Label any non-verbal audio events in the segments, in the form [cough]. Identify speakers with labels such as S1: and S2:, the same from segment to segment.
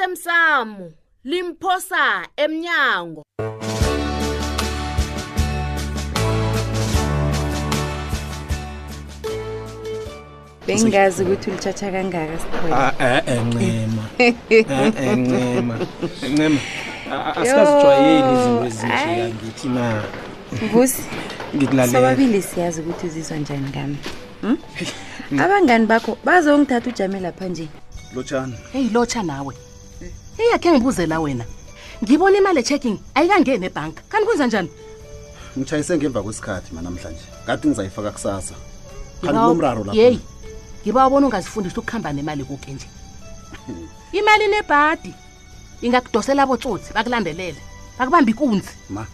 S1: osemsamo limphosa emnyango
S2: bengazi ukuthi ulithatha kangaka siphoya
S3: Ah, eh, eh,
S4: [laughs]
S3: ncema Eh, eh, ncema ncema Ah, ah, asikazijwayeli izinto ezinje
S2: hayi.
S3: angithi na
S2: vusi
S3: ngikulalela
S2: sobabili siyazi ukuthi uzizwa njani ngami Hmm? abangani bakho bazongithatha ujame lapha nje
S5: lotshani
S4: heyi lotsha nawe eyakhe ngibuzela wena ngibona imali e-checking ayikangeni ebhanka kanti kwenza njani
S5: ngitshayise ngemva kwesikhathi manamhlanje kade ngizayifaka kusasa kanti
S4: Ngibawa-
S5: kunomraro lapho
S4: yeyi ngiba ubona ungazifundisa ukuhamba nemali kuke nje imali inebhadi ingakudosela botsotsi bakulandelele bakubambe ikunzi
S5: ma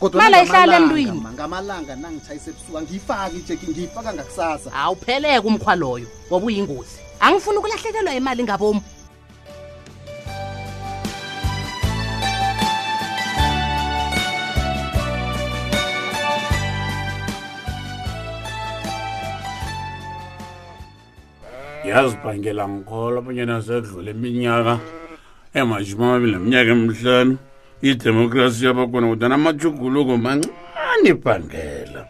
S5: kodwa
S4: Mala
S5: nangamalanga,
S4: ihlala emntwini.
S5: ma, ngamalanga nangitshayise ebusuku angiyifaki ijeki ngiyifaka ngakusasa
S4: awupheleke umkhwa loyo ngoba uyingozi angifuni ukulahlekelwa imali ngabomi
S6: yazibhangela ngikhola abanyana sekudlula iminyaka emashumi amabili neminyaka emihlanu idemokhrasi yabakhona kodwa namajuguluko mancane bhangela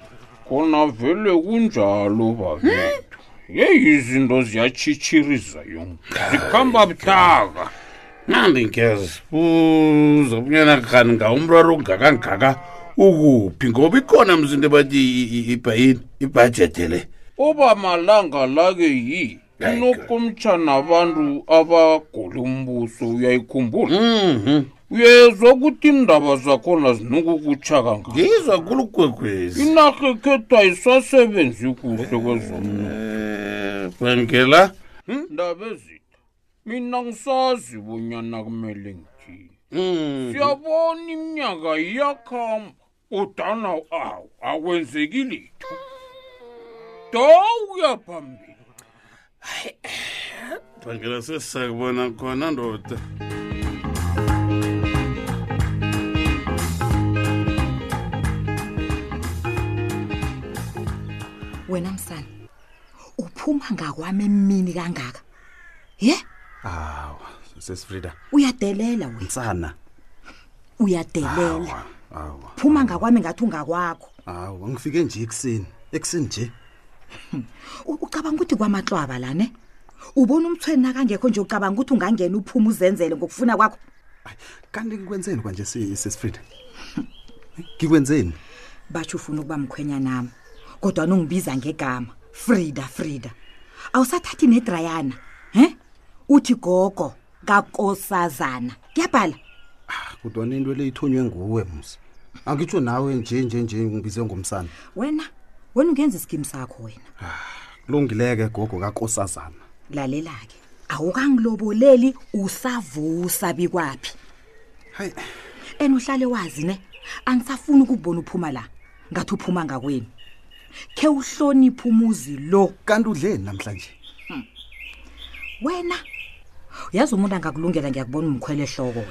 S7: kona vele kunjalo bafethu yeyi izinto ziyatshitshiriza yona zikhamba buthaka
S6: nandi ngiyasibuza ubunyana khani ngawumraro ongakangaka ukuphi ngoba ikhona mzinto ebathi i- i- ibhayini ibhajethe le
S7: oba malanga lake yi
S6: Hayi,
S7: unokomtshana abantu abagula umbuso uyayikhumbula
S6: Mhm.
S7: uyezwa ukuthi iindaba zakhona zinokukutshaka nga
S6: ngizwa kulugwegwezi
S7: inarha ekhethu ayisasebenzi kuhle kwezomnotho
S6: um bhangela
S7: ndaba ezitha mina ngisazi bonyana kumele ngithini
S6: Mhm.
S7: siyabona iminyaka iyakhamba kodana awu akwenzeki litho do uyaphambili
S6: bhangela sesisakubona khona ndoda
S8: wena msana uphuma ngakwami emini kangaka ye
S5: hawa sesifrida
S8: uyadelela wena
S5: msana
S8: uyadelela
S5: hawa
S8: phuma ngakwami ngathi ungakwakho
S5: hawa ngifike nje ekuseni ekuseni nje
S8: U- ucabanga ukuthi kwamatlwaba lane ubona umthweni nakangekho nje ucabanga ukuthi ungangena uphuma uzenzele ngokufuna kwakho
S5: kanti ngikwenzeni kwanje se- [laughs] sesifrida ngikwenzeni
S8: batsho ufuna ukuba mkhwenyanami kodwa nongibiza ngegama frida frida awusathathi nedrayana he uthi gogo kakosazana kuyabhala
S5: kodwa nento le ithonywe nguwe musa angitsho nawe nje nje nje ngibize ngumsana
S8: wena wena ungenza isikimu sakho wena
S5: kulungileke gogo kakosazana
S8: lalela-ke awukangiloboleli usavusa bikwaphi
S5: hayi
S8: and uhlale wazi ne angisafuni ukubona uphuma la ngathi uphuma ngakwenu khe uhloniphe umuzi lo
S5: kanti udleni namhlanje
S8: wena yazi umuntu angakulungela ngiyakubona umkhwele ehloko wena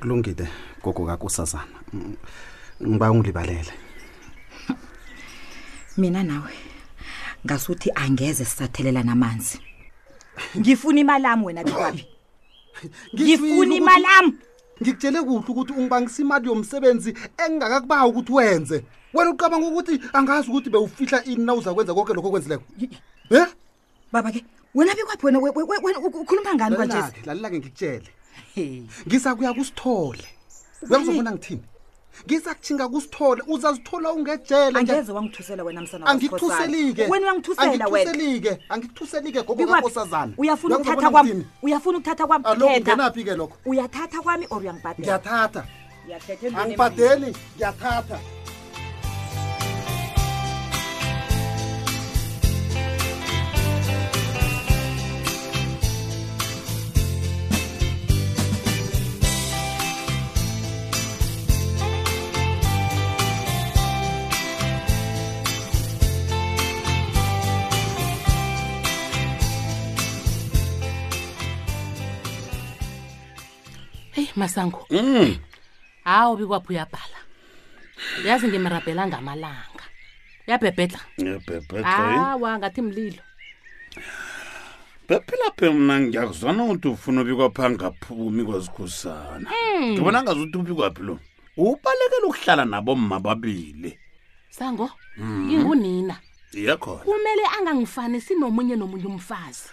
S5: kulungile gogo kakosazana Mm, ngiba ungilibalele
S8: mina nawe ngasuthi angeze sisathelela namanzi ngifuna imali ami wena bikwaphi ngifuna imali ami
S5: ngikutshele kuhle ukuthi ungibangisa imali yomsebenzi engingakakubawa ukuthi wenze wena uqabanga ukuthi angazi ukuthi bewufihla ini na uza kwenza konke lokho okwenzileko Eh?
S8: baba ke wena bikwaphi wena we- we- we- wena u- ukhuluma ngani kanje
S5: Lalela-ke, lalela-ke ngikutshele ngizakuya kusithole uyangizobona ngithini ngizakutshinga kusithole uzazithola ungejele nje.
S8: angeze wangithusela wena msana waSkhosana.
S5: angikuthuselike
S8: wena uyangithusela wena
S5: Angikuthuselike, angikuthuselike gogo
S8: Bikwaphi?
S5: kakosazana Uyangizwa
S8: uyafuna ukuthatha
S5: bona
S8: kwami
S5: ngithini?
S8: uyafuna ukuthatha kwami
S5: Alo,
S8: Khetha.
S5: kungenaphi ke lokho
S8: uyathatha kwami or uyangibhadela
S5: ngiyathatha
S8: Ngiyakhetha endleleni.
S5: angibhadeli ngiyathatha
S4: heyi masango
S6: Mm.
S4: hawu bikwaphi uyabhala yazi ngimrabhela ngamalanga uyabhebhedla
S6: Eh, ngiyabhebhedla yini?
S4: hawa ngathi mlilo
S6: phephelaphe mna ngiyakuzwana ukuthi ufuna ubikwa phaa ngaphumi kwazikhusana
S7: Hmm.
S6: ngibona ngazuthi ubikwaphi lo ubalekela ukuhlala nabo mma babili
S4: sango ingunina
S6: iyakhona
S4: kumele angangifanisi nomunye nomunye umfazi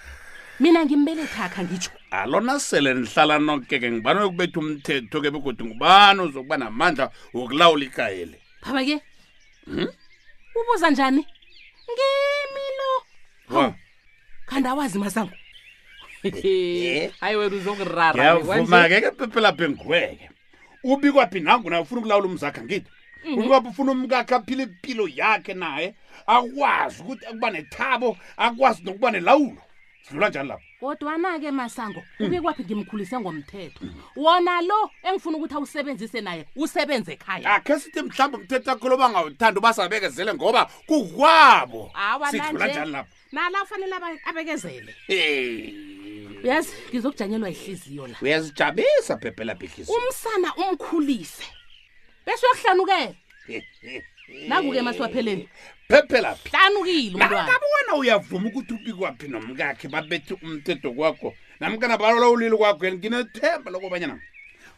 S4: mina ngimbelethakha ngitsho
S6: alona sele nihlala nokeke ngibani oyokubetha umthetho ke begodwa ngubani uzokuba namandla wokulawula ikayele
S4: phaba ke Hmm? ubuza njani ngimi lo kanti awazi masango hayi wena uzokurara
S6: Eh? ngiyavuma ke ke phephelaphe nguweke ubikwaphi nanguna ufuna ukulawula umzakhe angithi ubikwaphi ufuna umkakhe aphile impilo yakhe naye akwazi ukuthi akuba nethabo akwazi nokuba nelawulo sidlula njani lapho
S4: kodwana-ke masango ube kwaphi ngimkhulise ngomthetho wona lo engifuna ukuthi awusebenzise naye usebenze ekhaya
S6: akhe sithi mhlawumbe umthetho kakhulu bangawuthanda basabekezele ngoba kukwabo
S4: awa
S6: sidlula njani lapho
S4: nala fanele abe- abekezele
S6: Eh,
S4: yazi ngizokujanyelwa yihliziyo la
S6: uyazijabisa
S4: Hmm.
S6: phephelabhidlisi
S4: umsana umkhulise bese uyakuhlanukela naku-ke masiwapheleni
S6: Eh. phephelaphi
S4: hlanukile umntwana
S6: nangabe wena uyavuma ukuthi ubikwaphi nomkakhe babethe umthetho kwakho namkana balawulile kwakho and nginethemba lokobanyana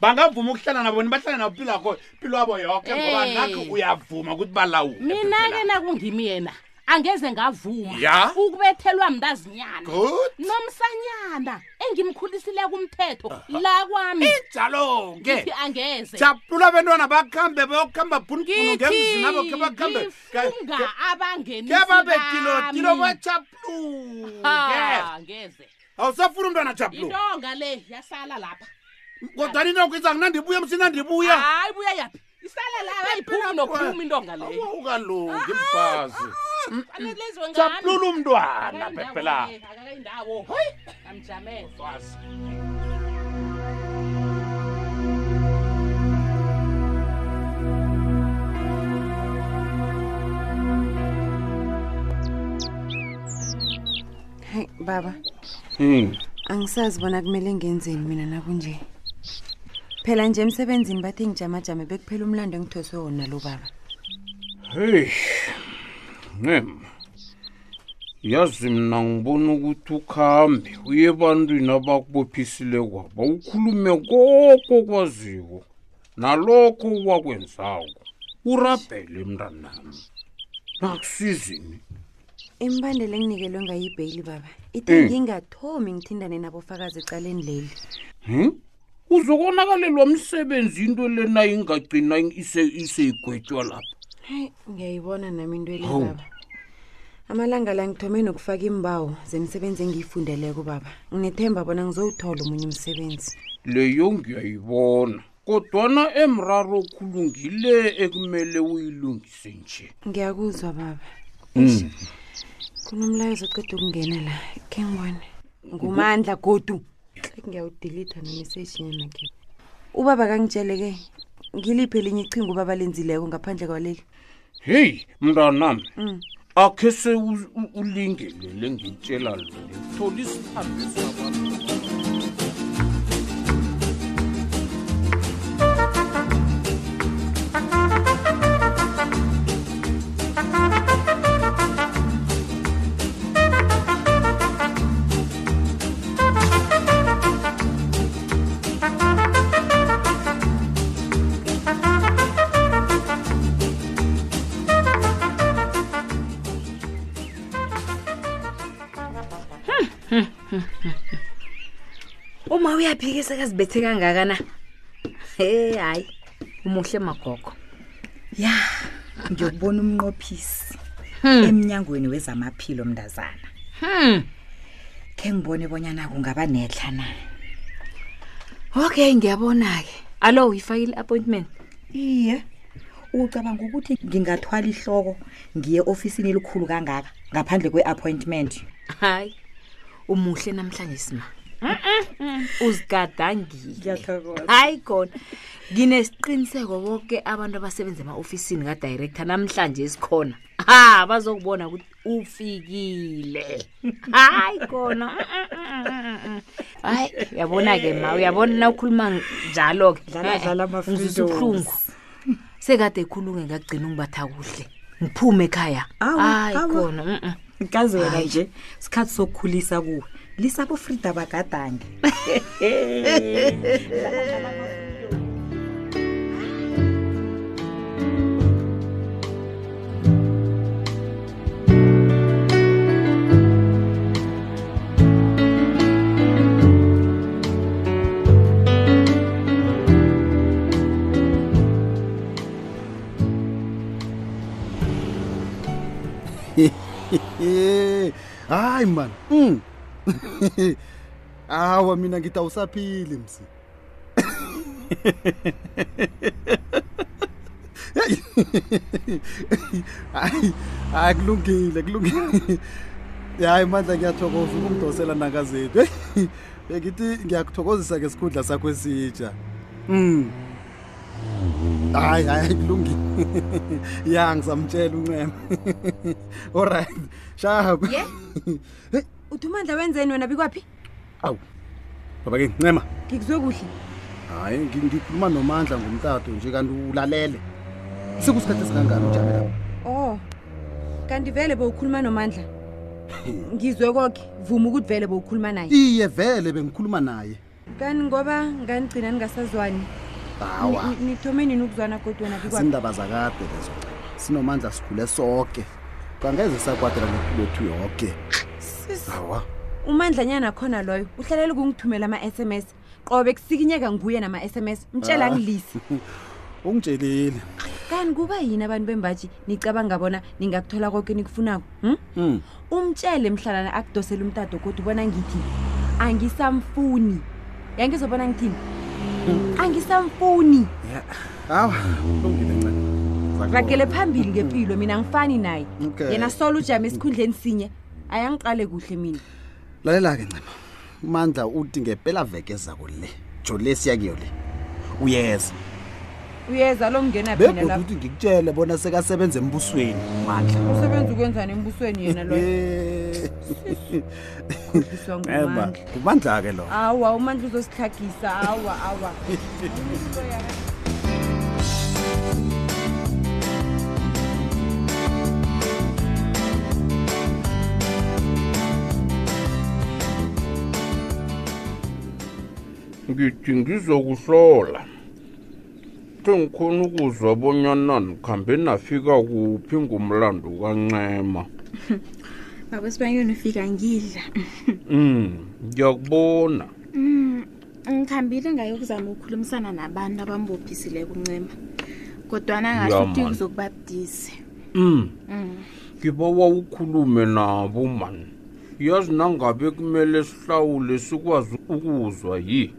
S6: bangavuma ukuhlala nabo ni bahlale nabo impilo yakho impilo yabo yoke ngoba
S4: Eh.
S6: nakho uyavuma ukuthi balawule
S4: mina-ke
S6: phephelaphi.
S4: nakungimi yena angeze ngavuma
S6: Ya.
S4: ukubethelwa mntazinyana
S6: Good.
S4: nomsanyana engimkhulisile kumthetho la kwami
S6: Eh, njalo-ke
S4: Ngithi angeze
S6: japula abentwana bakhambe bayokuhamba
S4: Ngithi
S6: bhunipunungenzini abokhe bakhambe
S4: ngifunga abangenisi bami.
S6: kebabekilotilo bajapluke
S4: Ah, ngeze
S6: awusafuna umntwana japlu
S4: intonga le yasala lapha
S6: kodwani nokuiza nginandibuya msinandibuya
S4: hayi buya yaphi isala la ayiphumi nophumi intonga leyo
S6: awukalungi mfazi
S4: Faneleziwe ngani?
S6: japlula umntwana
S4: Akayindawo
S6: phephelapho
S4: le, akayindawo hoyi amjamele
S2: hayi baba angisazi bona kumele ngenzeni mina nakunje phela nje emsebenzini bathi ngijamajame bekuphela umlando engithoswe wona lo baba
S7: heyi ncema yazi mna ngibona ukuthi ukhambe uye ebantwini abakubophisile kwabo ukhulume koko okwaziko nalokho okwakwenzako urabhele mntanami nakusizini
S2: imbandela enginikelwe ngayibheyili baba ithi
S7: Mm.
S2: ngingathomi ngithindane nabofakazi ecaleni leli
S7: Hmm? uzokonakalelwa msebenzi into lena ingagcina ise- iseyigwetywa lapha
S2: hayi ngiyayibona nami into ele
S7: Hawu.
S2: baba amalanga la ngithome nokufaka imbawo zemisebenzi engiyifundeleko baba nginethemba bona ngizowuthola omunye umsebenzi
S7: leyo ngiyayibona kodwana emraro okhulu ngile ekumele uyilungise nje
S2: ngiyakuzwa baba
S7: mm.
S2: kunomlayezo oceda ukungena la khe ngibone ngumandla godu ngiyawudilitha nomesejini nakhe ubaba kangitsheleke ngiliphi elinye ichinga ubaba lenzileko ngaphandle kwaleli
S7: heyi mntanami
S2: Mm.
S7: akhe se u- u- ulingelele ngitshela lona thola isiphambi sabantu
S8: uma uyaphika sekazibethe kangakana he hayi umuhle magogo ya ngiyokubona umnqophisi emnyangweni wezamaphilo mndazana khe ngibone bonyana kungaba nehla na
S2: okay ngiyabona-ke
S9: allo uyifakile i-appointment
S8: iye ucabanga ukuthi ngingathwala ihloko ngiye ofisini elikhulu kangaka ngaphandle kwe-appointment
S9: hayi umuhle namhlanje sima uzigadangile
S8: ngiyathokoza
S9: hayi khona nginesiqiniseko bonke abantu abasebenza ema-ofisini kadirector namhlanje sikhona ha bazokubona ukuthi ufikile hayi mm, khona hayi uyabona-ke ma uyabona na ukhuluma njalo-ke
S8: Dlala, dlala ama-freedoms.
S9: ubuhlungu sekade khulu-ke ngagcina ungibatha kuhle ngiphume ekhaya
S8: Awa,
S9: hayi
S8: awa.
S9: khona mm, mm.
S8: kazi wena nje sikhathi sokukhulisa kuwe lisabofrida bagadange
S5: hayi mani mm. [laughs] awa mina ngithi awusaphili msi [laughs] Hey. Hayi, hayi kulungile kulungile hayi mandla ngiyathokoza ukungidosela nangazethu Hey, bengithi ngiyakuthokozisa ngesikhundla sakho esitsha mm. hayi hayi kulungile [laughs] ya ngizamtshela [laughs] uncema allright shaba
S2: Ye? uthi umandla wenzeni wena bikwaphi
S5: awu baba ke ncema
S2: ngikuzwe kuhle
S5: hayi ngi- ngikhuluma nomandla ngomtato nje kanti ulalele sekusikhathi esingangani ujame lapha
S2: o Oh, kanti vele bowukhuluma nomandla ngizwe koke vuma ukuthi vele bowukhuluma naye
S5: iye vele bengikhuluma naye
S2: kanti ngoba ngangigcina ningasazwani
S5: hawa
S2: Ni- ni- nithome nini ukuzwana kodwa wena bikwaphi
S5: zindaba zakade lezo Ncema. sinomandla sikhule soke kangeze sakwadela nepilethu yoke
S2: Sis.
S5: hawa
S2: umandlanyana khona loyo uhlalele ukungithumela ama-sms qobe kusikinyeka nguye nama-sms mtshela ngilisi
S5: ungitshelile
S2: kanti kuba yini abantu bembaji nicabanga bona ningakuthola konke nikufunako hm?
S5: Mm.
S2: umtshele mhlalana akudosele umtado kodwa ubona ngithi angisamfuni yangizobona ngithini angisamfuni
S5: hawa kulungile ncema
S2: ragele phambili ngempilo mina angifani naye
S5: Okay.
S2: yena solo ujame esikhundleni sinye ayangiqale kuhle mina
S5: lalela-ke ncema mandla uthi ngempela veke ezako le jole siyakuyo le uyeza
S2: uyeza lo mngena phina
S5: begodwa
S2: lapho
S5: ukuthi ngikutshele bona sekasebenza embusweni mandla
S2: usebenza ukwenzani embusweni yena loyo Kudliswa
S5: eba
S2: ngumandla
S5: kumandla-ke lo
S2: awa umandla uzosihlagisa awa awa
S7: ngithi ngizokuhlola sengikhona ukuzwa bonyana nikhambe nafika kuphi ngumlando kancema
S10: baba sibangeni ufika ngidla
S7: um ngiyakubona
S10: Mm, ngikhambile ngayokuzama ukukhulumisana nabantu abambophisile kuncema kodwana ngasuthi
S7: man.
S10: ngizokubabudise
S7: um
S10: Mm.
S7: ngibawa ukhulume nabo mani yazi nangabe kumele sihlawule sikwazi ukuzwa yi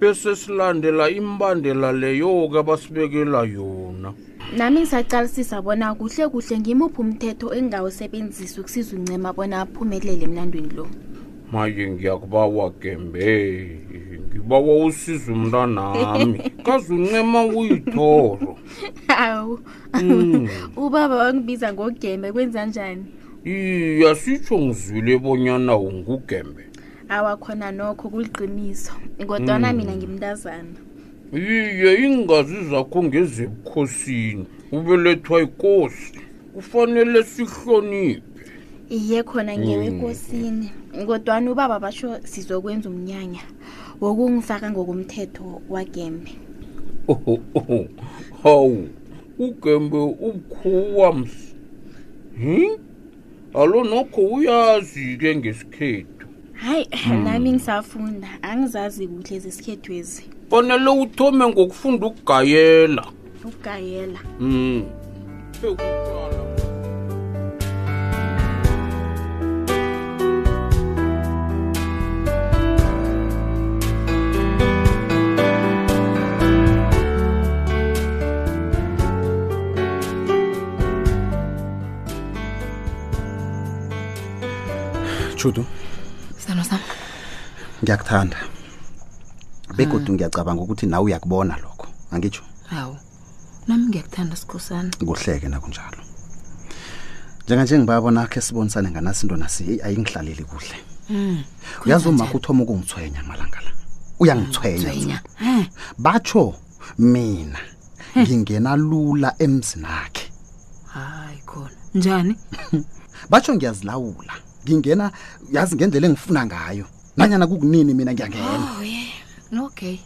S7: bese silandela imbandela leyo-ke abasibekela yona
S10: nami ngisaqalisisa bona kuhle kuhle ngimuphi umthetho engingawusebenzisi ukusiza uncema bona aphumelele emlandweni lo [laughs]
S7: manje ngiyakubawa gembe ngibawa usize umntanami kaze uncema uyithoro
S10: awu
S7: Mm.
S10: [laughs] ubaba wangibiza ngogembe kwenza njani
S7: iya sitsho ngizwile bonyana ungugembe
S10: awakhona nokho kuliqiniso kodwana
S7: Mm.
S10: mina ngimntazana
S7: iye iingazi zakho ngezebukhosini ubelethwa ikosi kufanele sihloniphe
S10: iye khona ngewe
S7: Mm.
S10: ekosini kodwana ubaba basho sizokwenza umnyanya wokungifaka ngokomthetho wagembe
S7: Oho, oho. hawu ugembe ubukhuwa msi hi alo nokho uyazi-ke ngesikhethu
S10: hayi nami ngisafunda angizazi kuhle zesikhethwezi
S7: fanele uthome ngokufunda ukugayela
S10: ukugayela
S7: mm.
S5: judu
S9: sithando sam
S5: ngiyakuthanda begodwa ngiyacabanga ukuthi nawe uyakubona lokho angitsho
S9: hawu nami ngiyakuthanda sikhosana
S5: kuhleke nakunjalo njenganje ngibabona khe sibonisane nganasinto nasi heyi ayingihlaleli kuhle
S9: Mm,
S5: uyazi umakho uthoma ukungithwenya amalanga la uyangithwenya
S9: Ngithwenya.
S5: Zulu. batsho mina ngingena lula emzini akhe
S9: hayi khona njani
S5: batsho ngiyazilawula ngingena yazi ngendlela engifuna ngayo nanyana kukunini mina ngiyangena
S2: oh ye okay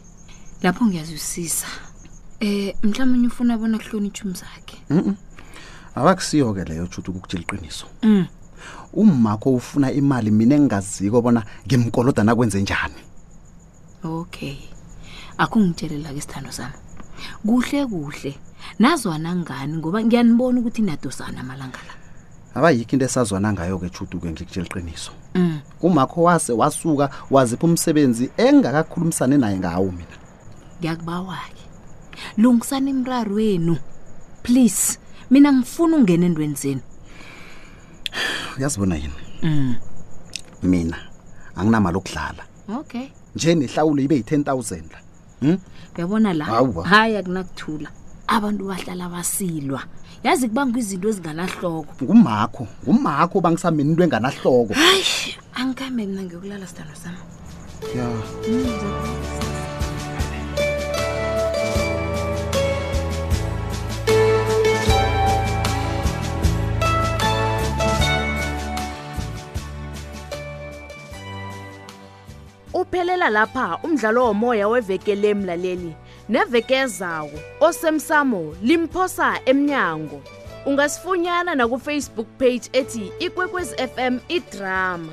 S2: lapho ngiyazwisisa eh mhlawumbe ufuna bona kuhlonitshwe umzakhe
S5: Mhm. abakusiyo-ke leyo juthi ukukutshela iqiniso
S2: mm
S5: ummakho ufuna imali mina engingaziko bona ngimkoloda nakwenze njani
S2: okay akungitshelela ke sithando sami kuhle kuhle nazwana ngani ngoba ngiyanibona ukuthi nadosana amalanga la
S5: abayikho into esazwana ngayo-ke judu-ke ngikutshela iqiniso
S2: mm
S5: umakho wase wasuka wazipha umsebenzi engingakakhulumisane naye ngawo mina
S2: ngiyakubawa-ke lungisani imraro wenu please mina ngifuna ungena endweni zenu
S5: uyazibona yini
S2: mm
S5: mina anginamali okudlala
S2: okay
S5: nje nehlawulo ibe yi-10 000 la Hmm?
S2: uyabona la
S5: Awa.
S2: hayi akunakuthula abantu bahlala basilwa yazi kubanga izinto ezinganahloko
S5: ngumakho ngumakho bangisamini into enganahloko
S2: hayi angikhambe mna ngiyokulala sithando sami
S5: ya
S11: uphelela lapha umdlalo womoya wevekele mlaleli nevekezako osemsamo limphosa emnyango ungasifunyana nakufacebook page ethi ikwekwezi fm idrama